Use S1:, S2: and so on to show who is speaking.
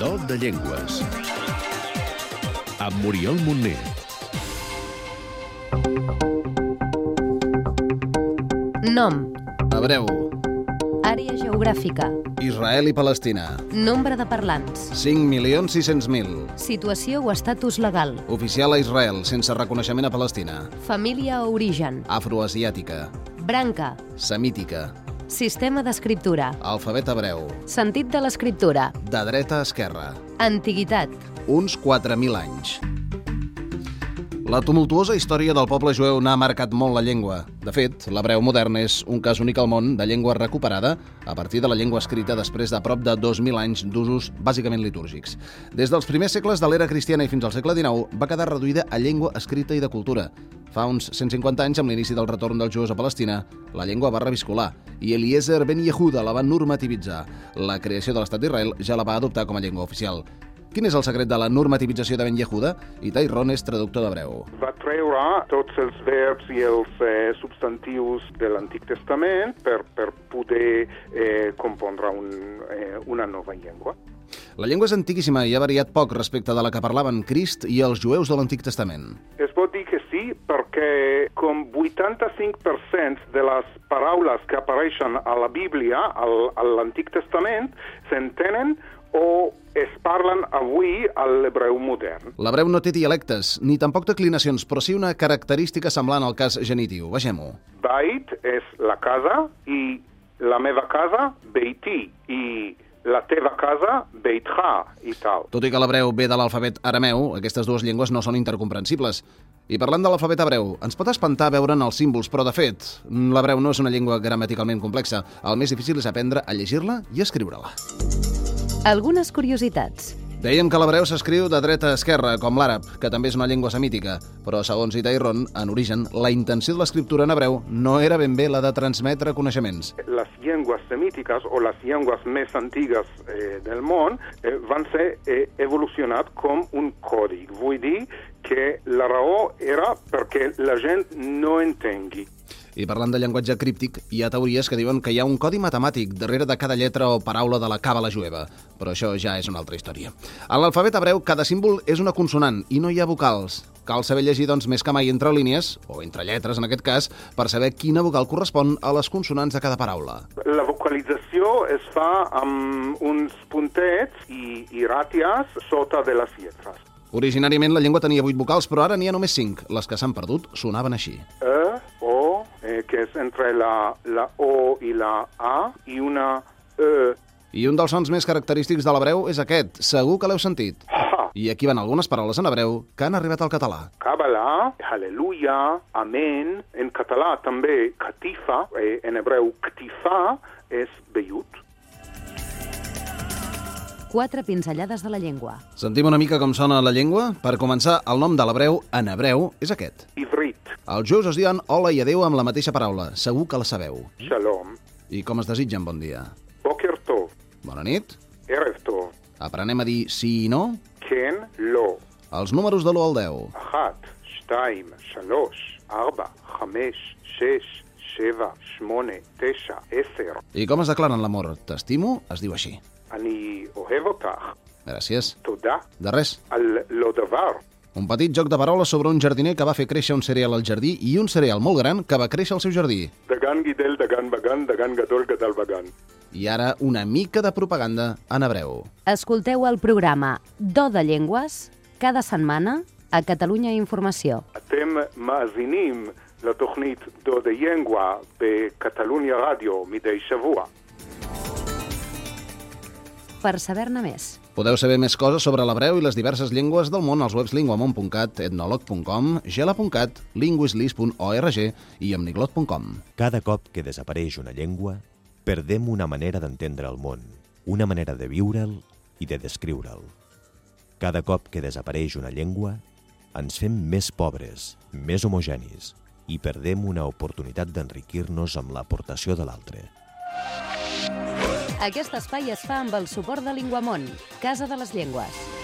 S1: Joc de llengües. Amb Muriel Montner.
S2: Nom,
S3: Hebreu,
S2: àrea geogràfica,
S3: Israel i Palestina,
S2: nombre de parlants,
S3: 5.600.000.
S2: situació o estatus legal,
S3: Oficial a Israel, sense reconeixement a Palestina.
S2: família o origen,
S3: Afroasiàtica,
S2: branca,
S3: semítica,
S2: sistema d'escriptura,
S3: alfabet hebreu,
S2: sentit de l'escriptura,
S3: de dreta a esquerra,
S2: antiguitat,
S3: uns 4.000 anys. La tumultuosa història del poble jueu n'ha marcat molt la llengua. De fet, l'hebreu modern és un cas únic al món de llengua recuperada a partir de la llengua escrita després de prop de 2.000 anys d'usos bàsicament litúrgics. Des dels primers segles de l'era cristiana i fins al segle XIX va quedar reduïda a llengua escrita i de cultura. Fa uns 150 anys, amb l'inici del retorn dels jueus a Palestina, la llengua va reviscolar i Eliezer ben Yehuda la va normativitzar. La creació de l'estat d'Israel ja la va adoptar com a llengua oficial. Quin és el secret de la normativització de Ben Yehuda? Itai Ron és traductor d'hebreu.
S4: La treure tots els verbs i els eh, substantius de l'Antic Testament per, per poder eh, compondre un, eh, una nova llengua.
S3: La llengua és antiquíssima i ha variat poc respecte de la que parlaven Crist i els jueus de l'Antic Testament.
S4: Es pot dir que sí perquè com 85% de les paraules que apareixen a la Bíblia, al, a l'Antic Testament, s'entenen o es parlen avui a l'hebreu modern.
S3: L'hebreu no té dialectes, ni tampoc declinacions, però sí una característica semblant al cas genitiu. Vegem-ho.
S4: Bait és la casa i la meva casa, Beití, i la teva casa, Beitך, i tal.
S3: Tot i que l'hebreu ve de l'alfabet arameu, aquestes dues llengües no són intercomprensibles. I parlant de l'alfabet hebreu, ens pot espantar veure'n els símbols, però de fet, l'hebreu no és una llengua gramaticalment complexa. El més difícil és aprendre a llegir-la i escriure-la.
S2: algunes curiositats.
S3: Dèiem que l'hebreu s'escriu de dreta a esquerra, com l'àrab, que també és una llengua semítica, però segons Itairon, en origen, la intenció de l'escriptura en hebreu no era ben bé la de transmetre coneixements.
S4: Les llengües semítiques o les llengües més antigues eh, del món eh, van ser eh, evolucionat com un còdic. Vull dir que la raó era perquè la gent no entengui.
S3: I parlant de llenguatge críptic, hi ha teories que diuen que hi ha un codi matemàtic darrere de cada lletra o paraula de la càbala jueva, però això ja és una altra història. En l'alfabet hebreu, cada símbol és una consonant i no hi ha vocals. Cal saber llegir, doncs, més que mai entre línies, o entre lletres en aquest cas, per saber quina vocal correspon a les consonants de cada paraula.
S4: La vocalització es fa amb uns puntets i, i ràtias sota de les lletres.
S3: Originàriament la llengua tenia 8 vocals, però ara n'hi ha només 5. Les que s'han perdut sonaven així.
S4: E, O, eh, que és entre la, la O i la A, i una E,
S3: I un dels sons més característics de l'hebreu és aquest. Segur que l'heu sentit.
S4: Ha,
S3: I aquí van algunes paraules en hebreu que han arribat al català.
S4: Kabbalah, Hallelujah, Amen, en català també Katifa, eh, en hebreu Ktifa és vellut.
S2: Quatre pinzellades de la llengua.
S3: Sentim una mica com sona la llengua? Per començar, el nom de l'hebreu en hebreu és aquest.
S4: Ivrit,
S3: Els jueus es diuen hola i adeu amb la mateixa paraula. Segur que la sabeu.
S4: Shalom,
S3: I com es desitgen bon dia?
S4: Boker Tov,
S3: Bona nit.
S4: Erev Tov,
S3: Aprenem a dir sí i no.
S4: Ken, Lo,
S3: Els números de l'1 al 10.
S4: כן, לא, אחת, שתיים, שלוש, ארבע, חמש, שש, שבע, שמונה, תשע, עשר.
S3: I com es declaren l'amor? T'estimo? Es diu així.
S4: אני אוהב אותך,
S3: Gràcies.
S4: תודה
S3: De res.
S4: על לא דבר.
S3: Un petit joc de paraules sobre un jardiner que va fer créixer un cereal al jardí i un cereal molt gran que va créixer al seu jardí.
S4: דגן גידל דגן בגן, דגן גדול גדל בגן.
S3: I ara una mica de propaganda en hebreu.
S2: Escolteu el programa Do de Llengües cada setmana a Catalunya Informació.
S4: אתם מאזינים לתוכנית דודה ינגווה בקטלוניה רדיו מדי שבוע.
S2: Per saber-ne més,
S3: Podeu saber més coses sobre l'hebreu i les diverses llengües del món als webs linguamont.cat, etnolog.com, gela.cat, linguislis.org i amniglot.com.
S5: Cada cop que desapareix una llengua, perdem una manera d'entendre el món, una manera de viure'l i de descriure'l. Cada cop que desapareix una llengua, ens fem més pobres, més homogenis i perdem una oportunitat d'enriquir-nos amb l'aportació de l'altre.
S2: aquest espai es fa amb el suport de Linguamont, Casa de les Llengües.